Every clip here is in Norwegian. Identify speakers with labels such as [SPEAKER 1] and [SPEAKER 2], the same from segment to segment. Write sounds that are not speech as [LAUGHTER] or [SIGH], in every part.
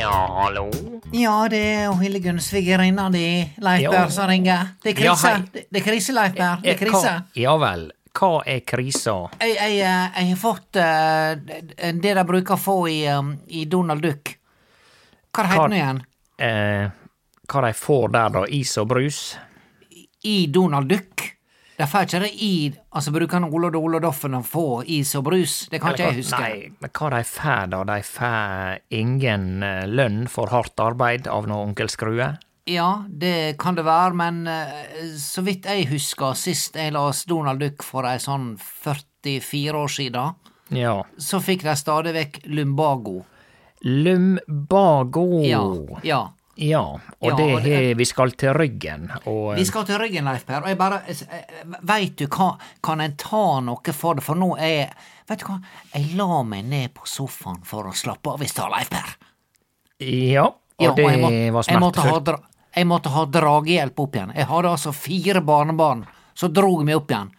[SPEAKER 1] Ja, hallo.
[SPEAKER 2] Ja, det er jo Hildegunn, svigerinna di, Leif
[SPEAKER 1] Ja.
[SPEAKER 2] Berr, som ringer. Det er
[SPEAKER 1] Ja,
[SPEAKER 2] krise.
[SPEAKER 1] hei.
[SPEAKER 2] det, det er krise, Leif Berr. Det er
[SPEAKER 1] Eh,
[SPEAKER 2] krise.
[SPEAKER 1] hva- Ja vel. Hva er krisa?
[SPEAKER 2] Jeg, jeg, eh, jeg har fått eh, det det de bruker å få i, um, i Donald Duck. Hva heter
[SPEAKER 1] Hva-
[SPEAKER 2] den igjen?
[SPEAKER 1] Eh, hva de får der, da? Is og brus?
[SPEAKER 2] I Donald Duck? De får ikke det i Altså, bruker han Ole og Ole Doffen å få is og brus? Det kan ikke
[SPEAKER 1] Eller
[SPEAKER 2] jeg
[SPEAKER 1] hva-
[SPEAKER 2] huske.
[SPEAKER 1] Nei, men hva de får da? De får ingen eh, lønn for hardt arbeid av noe onkel Skrue?
[SPEAKER 2] Ja, det kan det være, men eh, så vidt jeg husker sist jeg las Donald Duck for ei sånn 44 år siden,
[SPEAKER 1] Ja.
[SPEAKER 2] så fikk de stadig vekk lumbago.
[SPEAKER 1] Lumbago.
[SPEAKER 2] Ja. ja.
[SPEAKER 1] Ja, og
[SPEAKER 2] Ja,
[SPEAKER 1] det
[SPEAKER 2] og det-
[SPEAKER 1] har Vi skal til ryggen, og
[SPEAKER 2] Vi skal til ryggen, Leif Per, og jeg bare Veit du hva, kan en ta noe for det, for nå er jeg Vet du hva, jeg la meg ned på sofaen for å slappe av i stad, Leif Per.
[SPEAKER 1] eh, Ja, og
[SPEAKER 2] Ja,
[SPEAKER 1] det
[SPEAKER 2] jeg må-
[SPEAKER 1] var
[SPEAKER 2] jeg måtte, ha
[SPEAKER 1] smertefullt.
[SPEAKER 2] dra, jeg måtte ha dragehjelp opp igjen. Jeg hadde altså fire barnebarn som drog meg opp igjen.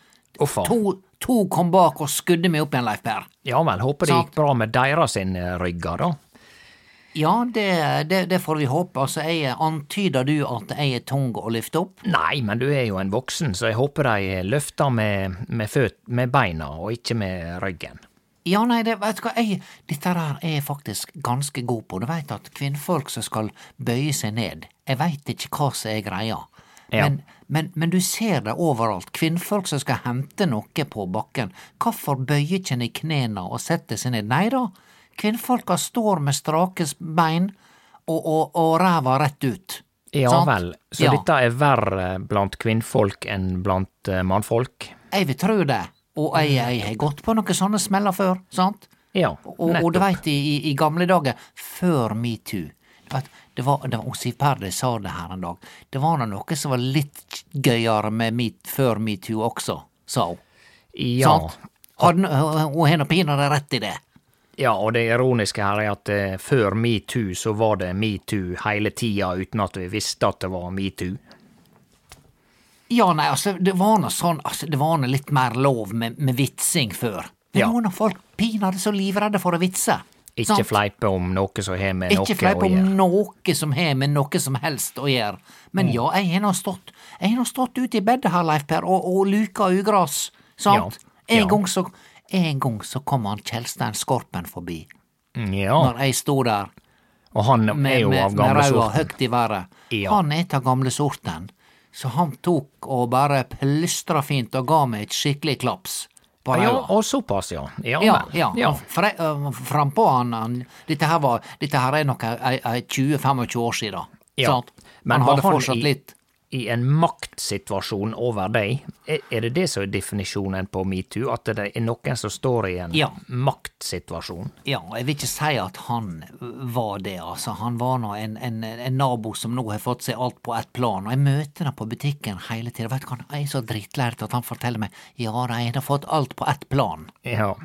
[SPEAKER 1] Uffa.
[SPEAKER 2] To, to kom bak og skudde meg opp igjen, Leif Per.
[SPEAKER 1] Ja vel, håper det
[SPEAKER 2] Sant.
[SPEAKER 1] gikk bra med deres sine rygger, da.
[SPEAKER 2] Ja, det, det, det får vi håpe. Altså, jeg antyder du at jeg er tung å løfte opp?
[SPEAKER 1] Nei, men du er jo en voksen, så jeg håper de løfter med, med, føt, med beina og ikke med ryggen.
[SPEAKER 2] Ja, nei, det, vet du hva, jeg, dette her er jeg faktisk ganske god på. Du veit at kvinnfolk som skal bøye seg ned, jeg veit ikke hva som er greia.
[SPEAKER 1] Ja.
[SPEAKER 2] Men, men, men du ser det overalt. Kvinnfolk som skal hente noe på bakken. Hvorfor bøyer ikke en i knærne og setter seg ned? Nei da, kvinnfolka står med strake bein og, og, og ræva rett ut.
[SPEAKER 1] Ja
[SPEAKER 2] Sant?
[SPEAKER 1] vel, så
[SPEAKER 2] Ja.
[SPEAKER 1] dette er verre blant kvinnfolk enn blant eh, mannfolk?
[SPEAKER 2] Jeg vil tro det. Og jeg, jeg har gått på noen sånne smeller før, sant?
[SPEAKER 1] Ja,
[SPEAKER 2] Og, og du veit, i, i, i gamle dager, før metoo du vet, det var, det var, og Siv Perdi sa det her en dag. Det var da noe som var litt gøyere med Me- før metoo også, sa hun.
[SPEAKER 1] Ja,
[SPEAKER 2] Sant? Hadde, hun hun har nå pinadø rett i det.
[SPEAKER 1] ja, og det ironiske her er at eh, før metoo så var det metoo hele tida uten at vi visste at det var metoo.
[SPEAKER 2] Ja, nei, altså, det var nå sånn altså, Det var nå litt mer lov med, med vitsing før. Men
[SPEAKER 1] Ja.
[SPEAKER 2] nå er nå folk pinadø så livredde for å vitse.
[SPEAKER 1] Ikke
[SPEAKER 2] sant?
[SPEAKER 1] fleipe om noe som har med noe
[SPEAKER 2] Ikke fleip
[SPEAKER 1] å
[SPEAKER 2] om
[SPEAKER 1] gjøre.
[SPEAKER 2] noe som har med noe som helst å gjøre. Men
[SPEAKER 1] Mm.
[SPEAKER 2] ja, jeg har nå stått Jeg har nå stått ute i bedet her, Leif Per, og, og luka ugras, sant?
[SPEAKER 1] Ja, ja.
[SPEAKER 2] En, gang så, en gang så kom han Kjelstein Skorpen forbi,
[SPEAKER 1] Ja,
[SPEAKER 2] når jeg sto der
[SPEAKER 1] og han er
[SPEAKER 2] med,
[SPEAKER 1] jo
[SPEAKER 2] med,
[SPEAKER 1] av
[SPEAKER 2] med
[SPEAKER 1] gamle
[SPEAKER 2] ræva
[SPEAKER 1] sorten.
[SPEAKER 2] høgt i været.
[SPEAKER 1] Ja.
[SPEAKER 2] Han er av gamle sorten, så han tok og bare plystra fint og ga meg et skikkelig klaps på
[SPEAKER 1] Ja,
[SPEAKER 2] ræva.
[SPEAKER 1] og såpass, ja. Ja,
[SPEAKER 2] Ja,
[SPEAKER 1] vel.
[SPEAKER 2] ja.
[SPEAKER 1] ja.
[SPEAKER 2] Fra, øh, frampå han, han Dette her, var, dette her er nok ei- ei- ei 20-25 år siden.
[SPEAKER 1] Ja,
[SPEAKER 2] sant?
[SPEAKER 1] men
[SPEAKER 2] han
[SPEAKER 1] var
[SPEAKER 2] hadde
[SPEAKER 1] han
[SPEAKER 2] fortsatt
[SPEAKER 1] i-
[SPEAKER 2] litt.
[SPEAKER 1] i en maktsituasjon over deg. Er er det det som er definisjonen på metoo? At det er noen som står i en
[SPEAKER 2] Ja.
[SPEAKER 1] maktsituasjon?
[SPEAKER 2] Ja, jeg vil ikke si at han var det, altså. Han var nå en, en, en nabo som nå har fått seg alt på ett plan, og jeg møter ham på butikken hele tida. Vet du hva, jeg er så drittlært at han forteller meg ja, de har nå fått alt på ett plan.
[SPEAKER 1] Ja.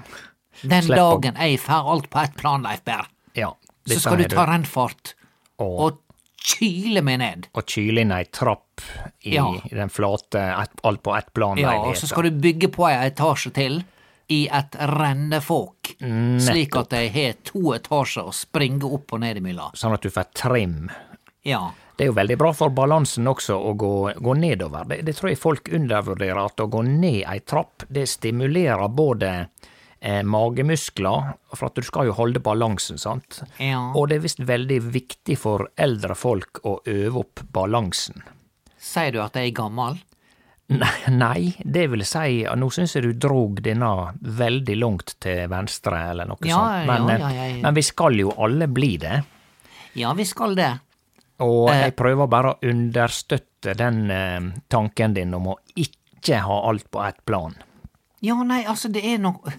[SPEAKER 2] Den
[SPEAKER 1] Slipp han.
[SPEAKER 2] dagen jeg får alt på ett plan, Leif Berr,
[SPEAKER 1] ja.
[SPEAKER 2] så
[SPEAKER 1] Dette
[SPEAKER 2] skal
[SPEAKER 1] er
[SPEAKER 2] du ta rennfart
[SPEAKER 1] Og-
[SPEAKER 2] og kyle meg ned.
[SPEAKER 1] Og kyle inn ei trapp i
[SPEAKER 2] Ja.
[SPEAKER 1] den flate, et, alt på ett plan
[SPEAKER 2] Ja, og så skal du bygge på ei etasje til i et rennefåk,
[SPEAKER 1] Mm,
[SPEAKER 2] slik at de har to etasjer å springe opp og ned imellom.
[SPEAKER 1] Sånn at du får trim.
[SPEAKER 2] Ja.
[SPEAKER 1] Det er jo veldig bra for balansen også å gå, gå nedover. Det, det tror jeg folk undervurderer, at å gå ned ei trapp, det stimulerer både eh, magemuskler, for at du skal jo holde balansen, sant?
[SPEAKER 2] Ja.
[SPEAKER 1] Og det er visst veldig viktig for eldre folk å øve opp balansen. [LAUGHS]
[SPEAKER 2] Sier du at jeg er gammel?
[SPEAKER 1] Nei, Nei, det vil si Nå syns jeg du drog denne veldig langt til venstre, eller noe
[SPEAKER 2] Ja,
[SPEAKER 1] sånt. Men,
[SPEAKER 2] ja,
[SPEAKER 1] eh,
[SPEAKER 2] ja, ja, ja.
[SPEAKER 1] men vi skal jo alle bli det.
[SPEAKER 2] Ja, vi skal det.
[SPEAKER 1] Og
[SPEAKER 2] Eh.
[SPEAKER 1] jeg prøver bare å understøtte den eh, tanken din om å ikke ha alt på ett plan.
[SPEAKER 2] Ja, nei, altså, det er noe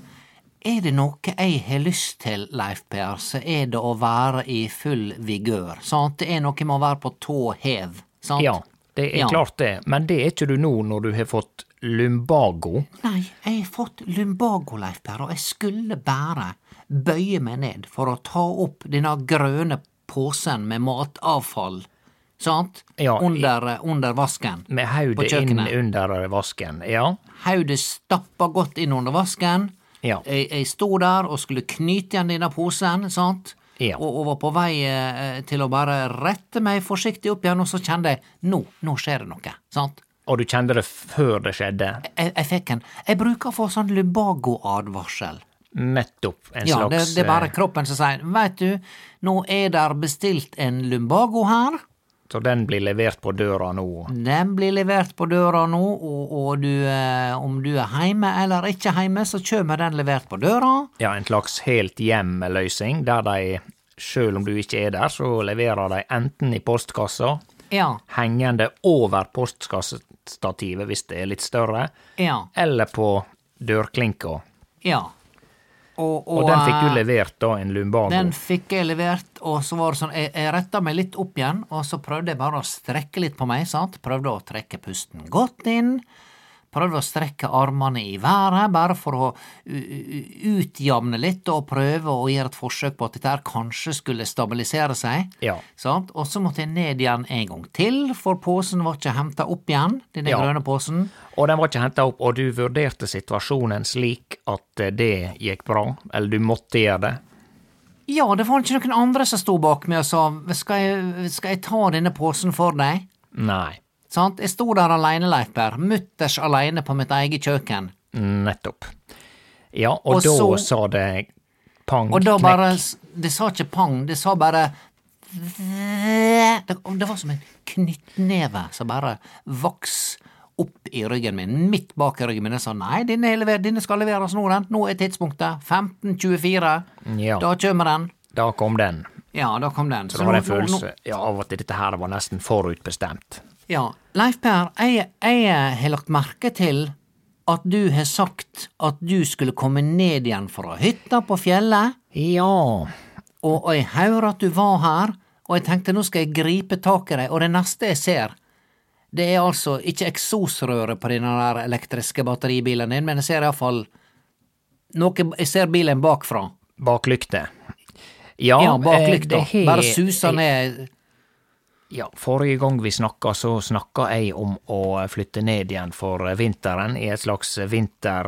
[SPEAKER 2] Er det noe jeg har lyst til, Leif Per, så er det å være i full vigør. Sant? Det er noe med å være på tå hev. Sant?
[SPEAKER 1] Ja, det er
[SPEAKER 2] Ja.
[SPEAKER 1] klart det. Men det er ikke du nå når du har fått lumbago.
[SPEAKER 2] Nei, jeg har fått lumbago, Leif Per, og jeg skulle bare bøye meg ned for å ta opp denne grønne posen med matavfall, sant,
[SPEAKER 1] Ja, i-
[SPEAKER 2] under, eh, under vasken.
[SPEAKER 1] Med
[SPEAKER 2] På
[SPEAKER 1] hodet inn
[SPEAKER 2] kjøkkenet.
[SPEAKER 1] under vasken. Ja.
[SPEAKER 2] Hodet stappa godt inn under vasken.
[SPEAKER 1] Ja.
[SPEAKER 2] Jeg, jeg sto der og skulle knyte igjen denne posen, sant?
[SPEAKER 1] Ja.
[SPEAKER 2] Og, og var på vei eh, til å bare rette meg forsiktig opp igjen, og så kjente jeg nå, nå skjer det noe. sant?
[SPEAKER 1] Og du kjente det før det skjedde.
[SPEAKER 2] Jeg, jeg fikk en Jeg bruker å få sånn lumbago-advarsel.
[SPEAKER 1] Nettopp. En
[SPEAKER 2] Ja, det,
[SPEAKER 1] slags
[SPEAKER 2] det er bare
[SPEAKER 1] eh,
[SPEAKER 2] kroppen som sier Veit du, nå er der bestilt en lumbago her.
[SPEAKER 1] Så den blir levert på døra nå.
[SPEAKER 2] Den blir levert på døra nå, og, og du, eh, om du er heime eller ikke heime, så kjem den levert på døra.
[SPEAKER 1] Ja, en slags helt hjemløsning, der de, sjøl om du ikke er der, så leverer de enten i postkassa,
[SPEAKER 2] Ja,
[SPEAKER 1] hengende over postkassestativet hvis det er litt større,
[SPEAKER 2] ja,
[SPEAKER 1] eller på dørklinka.
[SPEAKER 2] ja. Og,
[SPEAKER 1] Og den fikk
[SPEAKER 2] eh,
[SPEAKER 1] du levert da, en lumbago.
[SPEAKER 2] Den fikk jeg levert, og så var det sånn, jeg, jeg retta meg litt opp igjen, og så prøvde jeg bare å strekke litt på meg, sant? Prøvde å trekke pusten godt inn, prøvde å strekke armene i været, bare for å u- u- utjamne litt, og prøve å gjøre et forsøk på at dette her kanskje skulle stabilisere seg.
[SPEAKER 1] Ja.
[SPEAKER 2] Sant? Og så måtte jeg ned igjen en gang til, for posen var ikke henta opp igjen, denne
[SPEAKER 1] Ja.
[SPEAKER 2] grønne posen.
[SPEAKER 1] Og den var ikke henta opp, og du vurderte situasjonen slik at eh, det gikk bra, eller du måtte gjøre det.
[SPEAKER 2] Ja, det var ikke noen andre som sto bak meg og sa, skal jeg, skal jeg ta denne posen for deg?
[SPEAKER 1] Nei.
[SPEAKER 2] Sant? Jeg sto der aleine, Leif Berr, mutters aleine på mitt eget kjøkken.
[SPEAKER 1] Nettopp. Ja, og,
[SPEAKER 2] Og
[SPEAKER 1] da
[SPEAKER 2] så-
[SPEAKER 1] sa det pang,
[SPEAKER 2] Og da
[SPEAKER 1] knekk.
[SPEAKER 2] bare Det sa ikke pang, det sa bare det, det var som en knyttneve som bare vaks opp i ryggen min, midt bak i ryggen min. Jeg sa nei, denne, er lever, denne skal leveres nå, den. Nå er tidspunktet. 15.24.
[SPEAKER 1] Ja.
[SPEAKER 2] Da kommer den.
[SPEAKER 1] da kom den.
[SPEAKER 2] Ja, da kom den.
[SPEAKER 1] Så det var en
[SPEAKER 2] nå- nå- nå-
[SPEAKER 1] følelse ja, av at dette her var nesten forutbestemt.
[SPEAKER 2] Ja, Leif Per, jeg, jeg har lagt merke til at du har sagt at du skulle komme ned igjen fra hytta på fjellet,
[SPEAKER 1] Ja.
[SPEAKER 2] og, og jeg hører at du var her, og jeg tenkte nå skal jeg gripe tak i deg, og det neste jeg ser, det er altså ikke eksosrøret på denne der elektriske batteribilen din, men jeg ser iallfall noe Jeg ser bilen bakfra.
[SPEAKER 1] Baklykte. Ja,
[SPEAKER 2] Ja, bak
[SPEAKER 1] eh,
[SPEAKER 2] lykta.
[SPEAKER 1] det har-
[SPEAKER 2] Bare suser ned
[SPEAKER 1] Ja, forrige gang vi snakka, så snakka jeg om å flytte ned igjen for eh, vinteren, i et slags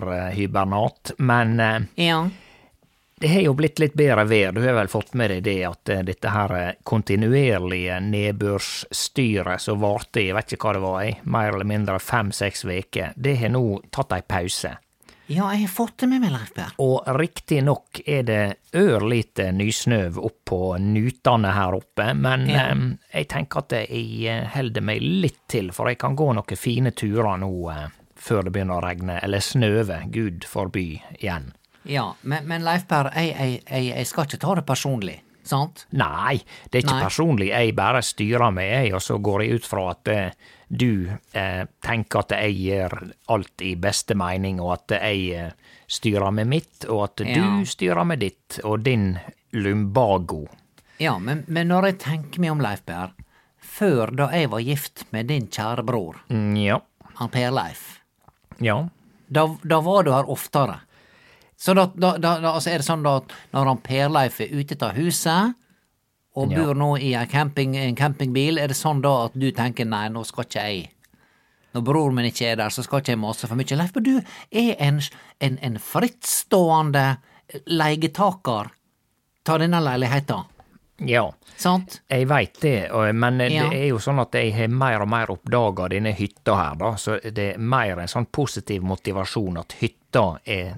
[SPEAKER 1] vinterhybernat. Men eh,
[SPEAKER 2] Ja.
[SPEAKER 1] det har jo blitt litt bedre vær. Du har vel fått med deg det at eh, dette her eh, kontinuerlige nedbørsstyret som varte i, jeg vet ikke hva det var, i, mer eller mindre fem-seks uker, det har nå tatt ei pause.
[SPEAKER 2] Ja, jeg har fått det med meg, Leif Per.
[SPEAKER 1] Og riktignok er det ørlite nysnøv oppå nutene her oppe, men
[SPEAKER 2] Ja.
[SPEAKER 1] em, jeg tenker at jeg eh, holder meg litt til, for jeg kan gå noen fine turer nå eh, før det begynner å regne, eller snøve, gud forby, igjen.
[SPEAKER 2] Ja, men, men Leif Per, jeg, jeg, jeg, jeg skal ikke ta det personlig. sant?
[SPEAKER 1] Nei, det er ikke
[SPEAKER 2] Nei.
[SPEAKER 1] personlig. Jeg bare styrer med, jeg, og så går jeg ut fra at eh, du eh, tenker at jeg gjør alt i beste mening, og at jeg eh, styrer med mitt, og at
[SPEAKER 2] Ja.
[SPEAKER 1] du styrer med ditt, og din lumbago.
[SPEAKER 2] Ja, men, men når jeg tenker meg om, Leif Berr, før da jeg var gift med din kjære bror,
[SPEAKER 1] Mm, ja.
[SPEAKER 2] han Per Leif,
[SPEAKER 1] Ja.
[SPEAKER 2] da, da var du her oftere. Så da, da, da, da altså er det sånn da at når han Per Leif er ute av huset, og
[SPEAKER 1] Ja.
[SPEAKER 2] bor nå i en, camping, en campingbil, er det sånn da at du tenker nei, nå skal ikke jeg Når broren min ikke er der, så skal ikke jeg mase for mye. Leif, men du er en, en, en frittstående leietaker av denne leiligheta,
[SPEAKER 1] Ja.
[SPEAKER 2] sant?
[SPEAKER 1] Jeg veit det, og- men
[SPEAKER 2] Ja.
[SPEAKER 1] det er jo sånn at jeg har mer og mer oppdaga denne hytta her, da. Så det er mer en sånn positiv motivasjon at hytta er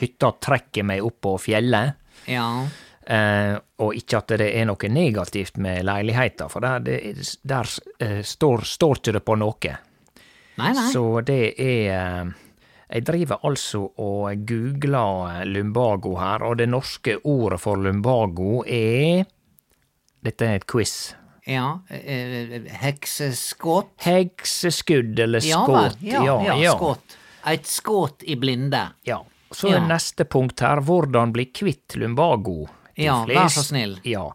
[SPEAKER 1] Hytta trekker meg opp på fjellet.
[SPEAKER 2] Ja.
[SPEAKER 1] Eh, og ikke at det er noe negativt med leiligheter, for der, det, der eh, står, står ikke det på noe.
[SPEAKER 2] Nei, nei.
[SPEAKER 1] Så det er eh, Jeg driver altså og googler eh, lumbago her, og det norske ordet for lumbago er Dette er et quiz.
[SPEAKER 2] Ja. eh, eh, Hekseskott.
[SPEAKER 1] Hekseskudd eller
[SPEAKER 2] Ja, vel,
[SPEAKER 1] skåt.
[SPEAKER 2] ja, ja, skott. Et skott i blinde.
[SPEAKER 1] Ja. Så
[SPEAKER 2] Ja.
[SPEAKER 1] er neste punkt her hvordan bli kvitt lumbago.
[SPEAKER 2] Ja, vær så snill.
[SPEAKER 1] Ja.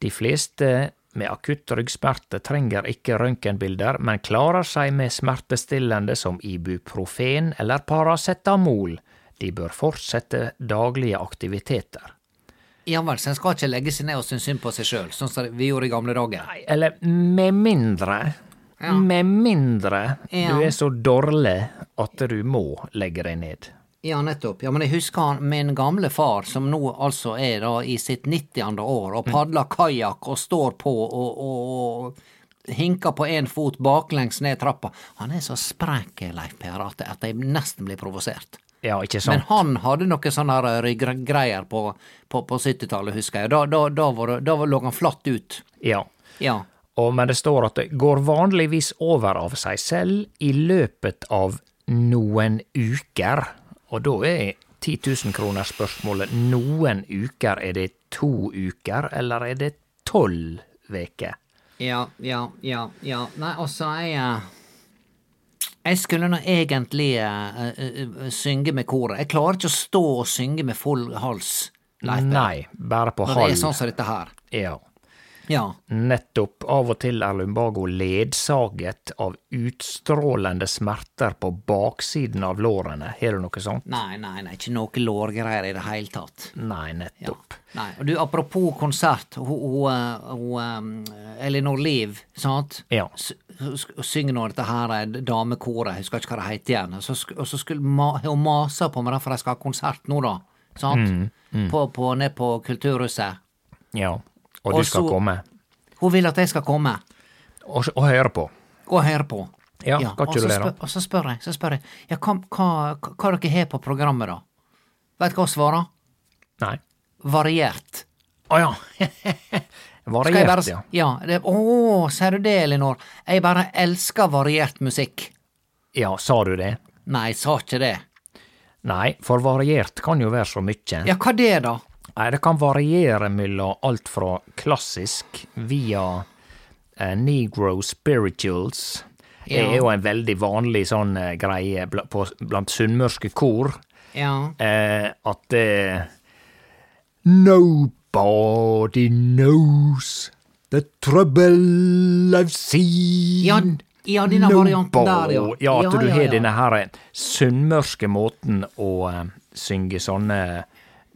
[SPEAKER 1] De fleste med akutt ryggsmerte trenger ikke røntgenbilder, men klarer seg med smertestillende som ibuprofen eller paracetamol. De bør fortsette daglige aktiviteter.
[SPEAKER 2] Ja vel, så en skal ikke legge seg ned og synes synd på seg sjøl, sånn som vi gjorde i gamle dager.
[SPEAKER 1] Nei, Eller med mindre
[SPEAKER 2] Ja.
[SPEAKER 1] Med mindre
[SPEAKER 2] Ja.
[SPEAKER 1] du er så dårlig at du må legge deg ned.
[SPEAKER 2] Ja, nettopp. Ja, men jeg husker han, min gamle far, som nå altså er da i sitt 90. år og padler kajakk og står på og, og, og hinker på én fot baklengs ned trappa. Han er så sprek, Leif Per, at, at jeg nesten blir provosert.
[SPEAKER 1] Ja, ikke sant?
[SPEAKER 2] Men han hadde noe sånn her rygggreier på, på, på 70-tallet, husker jeg. Da, da, da, var, det- da var- lå han flatt ut.
[SPEAKER 1] Ja.
[SPEAKER 2] Ja.
[SPEAKER 1] Og, men det står at det går vanligvis over av seg selv i løpet av noen uker. Og da er 10 000 kroner spørsmålet noen uker. Er det to uker, eller er det tolv uker?
[SPEAKER 2] Ja, ja, ja, ja. Nei, altså, jeg eh, Jeg skulle nå egentlig eh, eh, eh, synge med koret. Jeg klarer ikke å stå og synge med full hals Leif Berr,
[SPEAKER 1] Nei, bare på
[SPEAKER 2] når det er
[SPEAKER 1] halv.
[SPEAKER 2] sånn som dette her.
[SPEAKER 1] Ja.
[SPEAKER 2] Ja.
[SPEAKER 1] Nettopp. Av og til er lumbago ledsaget av utstrålende smerter på baksiden av lårene. Har du noe sånt?
[SPEAKER 2] Nei, nei, nei, ikke noe lårgreier i det hele tatt.
[SPEAKER 1] Nei,
[SPEAKER 2] Ja.
[SPEAKER 1] nettopp.
[SPEAKER 2] Nei. Og du, apropos konsert, hun, hun, eh, hun eh, Elinor Liv, sant?
[SPEAKER 1] Ja.
[SPEAKER 2] S- sk- synger nå dette her eh, damekoret, jeg husker ikke hva det heter igjen. Og så, sk- og så skulle ma, hun mase på meg derfor jeg skal ha konsert nå, da. Sant?
[SPEAKER 1] Mm,
[SPEAKER 2] På, på, ned på Kulturhuset.
[SPEAKER 1] Ja. Og
[SPEAKER 2] Og
[SPEAKER 1] du skal
[SPEAKER 2] så-
[SPEAKER 1] komme
[SPEAKER 2] Hun vil at jeg skal komme
[SPEAKER 1] og, og høre på.
[SPEAKER 2] og høre på.
[SPEAKER 1] Ja, skal
[SPEAKER 2] og,
[SPEAKER 1] ikke
[SPEAKER 2] så
[SPEAKER 1] du det, da?
[SPEAKER 2] spør, og så spør jeg, så spør jeg ja, hva, hva, hva dere har på programmet, da? Vet du hva hun svarer?
[SPEAKER 1] Nei.
[SPEAKER 2] Variert.
[SPEAKER 1] Å ja.
[SPEAKER 2] Skal jeg
[SPEAKER 1] [LAUGHS] Variert,
[SPEAKER 2] bare,
[SPEAKER 1] ja.
[SPEAKER 2] ja. det- Å, ser du det, Elinor? Jeg bare elsker variert musikk.
[SPEAKER 1] Ja, sa du det?
[SPEAKER 2] Nei, jeg sa ikke det.
[SPEAKER 1] Nei, for variert kan jo være så mye.
[SPEAKER 2] Ja, hva det, da?
[SPEAKER 1] Nei, det kan variere mellom alt fra klassisk via eh, negro spirituals. Det
[SPEAKER 2] Ja.
[SPEAKER 1] er jo en veldig vanlig sånn eh, greie bl på, blant sunnmørske kor.
[SPEAKER 2] Ja.
[SPEAKER 1] eh, at eh, Nobody knows the trouble I've seen.
[SPEAKER 2] Ja, ja, denne varianten der, ja.
[SPEAKER 1] Ja, at
[SPEAKER 2] Ja,
[SPEAKER 1] du
[SPEAKER 2] ja,
[SPEAKER 1] har
[SPEAKER 2] ja.
[SPEAKER 1] denne her sunnmørske måten å eh, synge sånne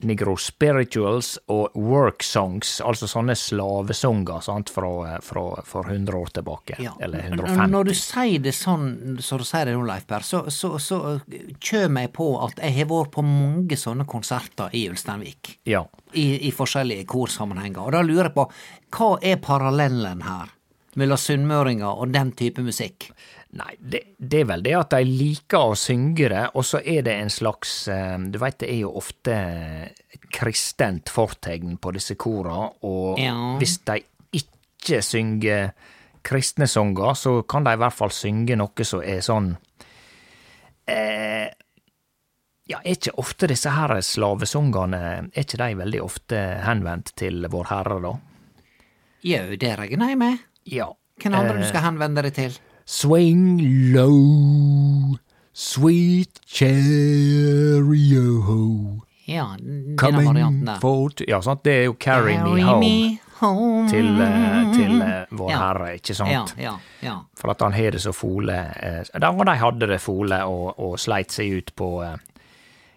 [SPEAKER 1] negro spirituals og work songs, altså sånne slavesanger sant, fra, fra, for 100 år tilbake.
[SPEAKER 2] Ja.
[SPEAKER 1] Eller
[SPEAKER 2] N-
[SPEAKER 1] 150.
[SPEAKER 2] Når du sier det sånn som du sier det nå, Leif Berr, så, så, så øh, kjem jeg på at jeg har vært på mange sånne konserter i Ulsteinvik.
[SPEAKER 1] Ja.
[SPEAKER 2] I, I forskjellige korsammenhenger. Og da lurer jeg på, hva er parallellen her? Mellom sunnmøringer og den type musikk?
[SPEAKER 1] Nei, det, det er vel det at de liker å synge det, og så er det en slags eh, Du veit det er jo ofte et kristent fortegn på disse kora, og
[SPEAKER 2] Ja.
[SPEAKER 1] hvis de ikke synger kristne sanger, så kan de i hvert fall synge noe som er sånn eh, Ja, er ikke ofte disse her slavesongene er ikke de veldig ofte henvendt til Vår Herre, da?
[SPEAKER 2] Jau, det regner jeg med.
[SPEAKER 1] Ja.
[SPEAKER 2] Hvem andre
[SPEAKER 1] Eh,
[SPEAKER 2] du skal henvende deg til?
[SPEAKER 1] Swing low, sweet cheerio,
[SPEAKER 2] Ja, denne varianten
[SPEAKER 1] coming
[SPEAKER 2] der.
[SPEAKER 1] for to Ja, sant, det er jo carry, me
[SPEAKER 2] Carry
[SPEAKER 1] home
[SPEAKER 2] me home.
[SPEAKER 1] til, eh, til eh, Vår
[SPEAKER 2] Ja.
[SPEAKER 1] Herre, ikke sant?
[SPEAKER 2] Ja, ja, ja.
[SPEAKER 1] For at han har det så fole eh, Der var de hadde det fole og, og sleit seg ut på eh,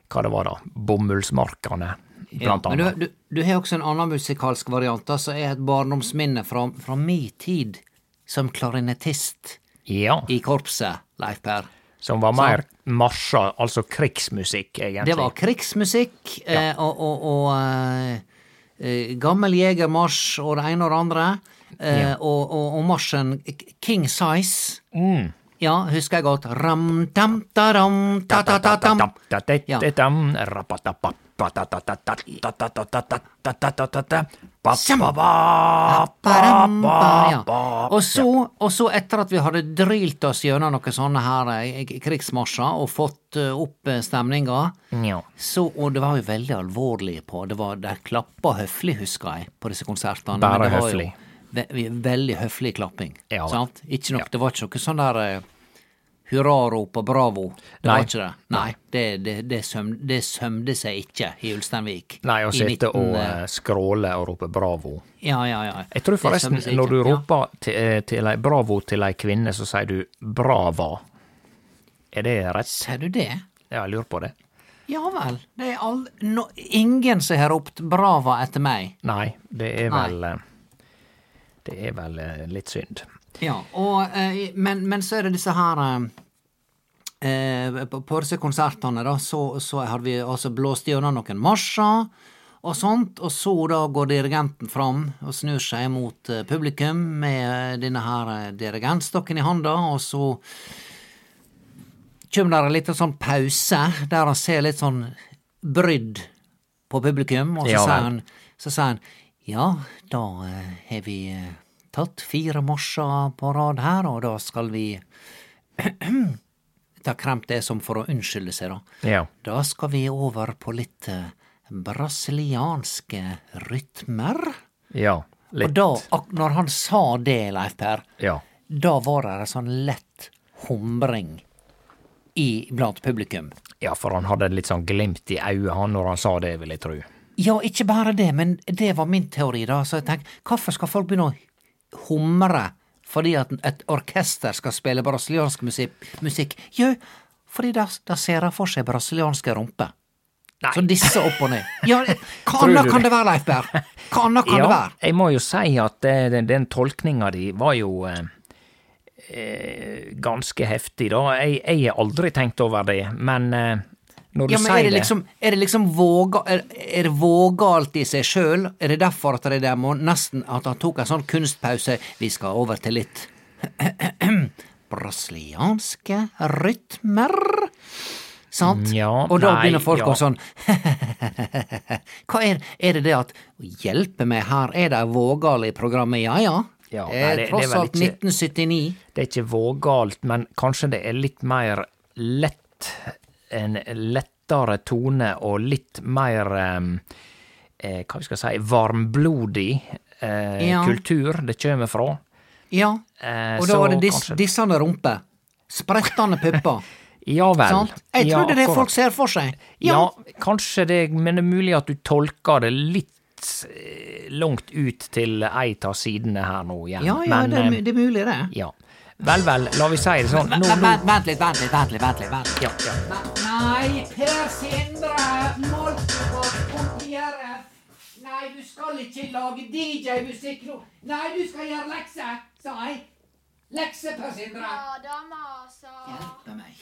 [SPEAKER 1] hva det var da, bomullsmarkene,
[SPEAKER 2] Ja,
[SPEAKER 1] blant
[SPEAKER 2] men du,
[SPEAKER 1] annet.
[SPEAKER 2] du, du har også en annen musikalsk variant, da, som er et barndomsminne fra, fra mi tid som klarinettist
[SPEAKER 1] Ja,
[SPEAKER 2] i korpset, Leif Per.
[SPEAKER 1] som var mer marsjer, altså krigsmusikk, egentlig.
[SPEAKER 2] Det var krigsmusikk eh, og, og, og eh, eh, gammel jegermarsj og det ene og det andre. Eh, og, og, og marsjen K- King Size. Ja, husker jeg godt. Ram, tam, ta, ram, ta, ta, ta, tam. Ja. Badam, ba, ja. Og så, og så etter at vi hadde drylt oss gjennom noen sånne her eh, k- krigsmarsjer og fått eh, opp eh, stemninga,
[SPEAKER 1] Ja.
[SPEAKER 2] så, og det var jo veldig alvorlige på, det var, de klappa høflig, husker jeg, på disse konsertene. men
[SPEAKER 1] Bare
[SPEAKER 2] det var jo
[SPEAKER 1] høflig.
[SPEAKER 2] Ve veldig høflig klapping,
[SPEAKER 1] Ja.
[SPEAKER 2] sant? Ikke nok, det var ikke noe sånn der eh, hurrarop og bravo, det
[SPEAKER 1] Nei.
[SPEAKER 2] var ikke det. Nei, det, det, det, søm, det sømde seg ikke i Ulsteinvik.
[SPEAKER 1] Nei, å
[SPEAKER 2] I
[SPEAKER 1] sitte og
[SPEAKER 2] 19,
[SPEAKER 1] eh, skråle og rope bravo.
[SPEAKER 2] Ja, ja, ja.
[SPEAKER 1] Jeg tror
[SPEAKER 2] Det
[SPEAKER 1] forresten,
[SPEAKER 2] sømde seg
[SPEAKER 1] når du
[SPEAKER 2] ikke. Ja.
[SPEAKER 1] roper til, eh, til ei bravo til ei kvinne, så sier du brava. Er det rett?
[SPEAKER 2] Ser du det?
[SPEAKER 1] Ja, jeg lurer på det.
[SPEAKER 2] Ja vel. Det er all... no... ingen som har ropt brava etter meg.
[SPEAKER 1] Nei, det er
[SPEAKER 2] Nei.
[SPEAKER 1] vel eh, Det er vel eh, litt synd.
[SPEAKER 2] Ja, og, eh, men, men så er det disse her eh, eh, På på disse konsertene, da, så, så har vi altså blåst gjennom noen marsjer og sånt, og så da går dirigenten fram og snur seg mot eh, publikum med eh, denne her eh, dirigentstokken i handa, og så kjem der en liten sånn pause der han ser litt sånn brydd på publikum, og så
[SPEAKER 1] Ja vel.
[SPEAKER 2] sier han så sier han ja, da eh, har vi eh, tatt fire marsjer på rad her, og da skal vi ta kremt det som for å unnskylde seg, da.
[SPEAKER 1] Ja.
[SPEAKER 2] Da skal vi over på litt eh, brasilianske rytmer.
[SPEAKER 1] Ja. Litt.
[SPEAKER 2] Og da, ak når han sa det, Leif Per,
[SPEAKER 1] Ja.
[SPEAKER 2] da var det en sånn lett humring i, blant publikum.
[SPEAKER 1] ja, for han hadde litt sånn glimt i øyet han når han sa det, vil jeg tru.
[SPEAKER 2] Ja, ikke bare det, men det var min teori, da. Så jeg tenkte, hvorfor skal folk begynne å humre fordi at et orkester skal spille brasiliansk musikk? musikk? Jo, fordi da, da ser de for seg brasilianske rumper. Så disse opp og ned.
[SPEAKER 1] [LAUGHS]
[SPEAKER 2] Ja, hva
[SPEAKER 1] Tror du
[SPEAKER 2] annet
[SPEAKER 1] det?
[SPEAKER 2] kan det være, Leif Berr? Hva annet
[SPEAKER 1] [LAUGHS]
[SPEAKER 2] kan det
[SPEAKER 1] Ja,
[SPEAKER 2] være?
[SPEAKER 1] jeg må jo si at eh, den, den tolkninga di var jo eh, eh, ganske heftig, da. Jeg, jeg har aldri tenkt over det, men eh, når du
[SPEAKER 2] Ja, men
[SPEAKER 1] sier
[SPEAKER 2] er det liksom, er det liksom våga, er, er det vågalt i seg sjøl? Er det derfor at det der må nesten at han tok en sånn kunstpause? Vi skal over til litt [CLEARS THROAT] brasilianske rytmer. Sant?
[SPEAKER 1] Mm, Ja,
[SPEAKER 2] og da
[SPEAKER 1] nei,
[SPEAKER 2] begynner folk
[SPEAKER 1] ja.
[SPEAKER 2] å sånn [LAUGHS] Hva er, er det det at Hjelpe meg, her er de vågale i programmet, ja ja.
[SPEAKER 1] Ja,
[SPEAKER 2] det
[SPEAKER 1] nei, det-
[SPEAKER 2] er
[SPEAKER 1] det er
[SPEAKER 2] tross
[SPEAKER 1] vel
[SPEAKER 2] alt
[SPEAKER 1] ikke-
[SPEAKER 2] 1979.
[SPEAKER 1] det er ikke vågalt, men kanskje det er litt mer lett En lettere tone og litt mer em, eh, Hva vi skal si Varmblodig eh,
[SPEAKER 2] Ja.
[SPEAKER 1] kultur det kommer fra.
[SPEAKER 2] Ja.
[SPEAKER 1] Eh,
[SPEAKER 2] og da
[SPEAKER 1] så
[SPEAKER 2] var det dis,
[SPEAKER 1] kanskje-
[SPEAKER 2] dissende rumpe. Sprettende pupper.
[SPEAKER 1] [LAUGHS] Ja vel.
[SPEAKER 2] Sant? Jeg
[SPEAKER 1] Ja,
[SPEAKER 2] trodde det
[SPEAKER 1] akkurat.
[SPEAKER 2] folk ser for seg.
[SPEAKER 1] Ja, kanskje det, men det er mulig at du tolker det litt eh, langt ut til ei av sidene her nå igjen.
[SPEAKER 2] ja, ja
[SPEAKER 1] men,
[SPEAKER 2] det, er, mu-
[SPEAKER 1] eh,
[SPEAKER 2] det er mulig, det.
[SPEAKER 1] ja. Vel, vel, la vi si det sånn. Nå,
[SPEAKER 2] Vent,
[SPEAKER 1] nå.
[SPEAKER 2] vent, vent litt, vent litt, vent litt. vent litt, vent litt.
[SPEAKER 1] Ja, ja.
[SPEAKER 2] Nei, Per Sindre, målt på kontiere. Nei, du skal ikke lage DJ-musikk nå. Nei, du skal gjøre lekser, sa jeg. Lekser, Per Sindre. Hjelpe meg.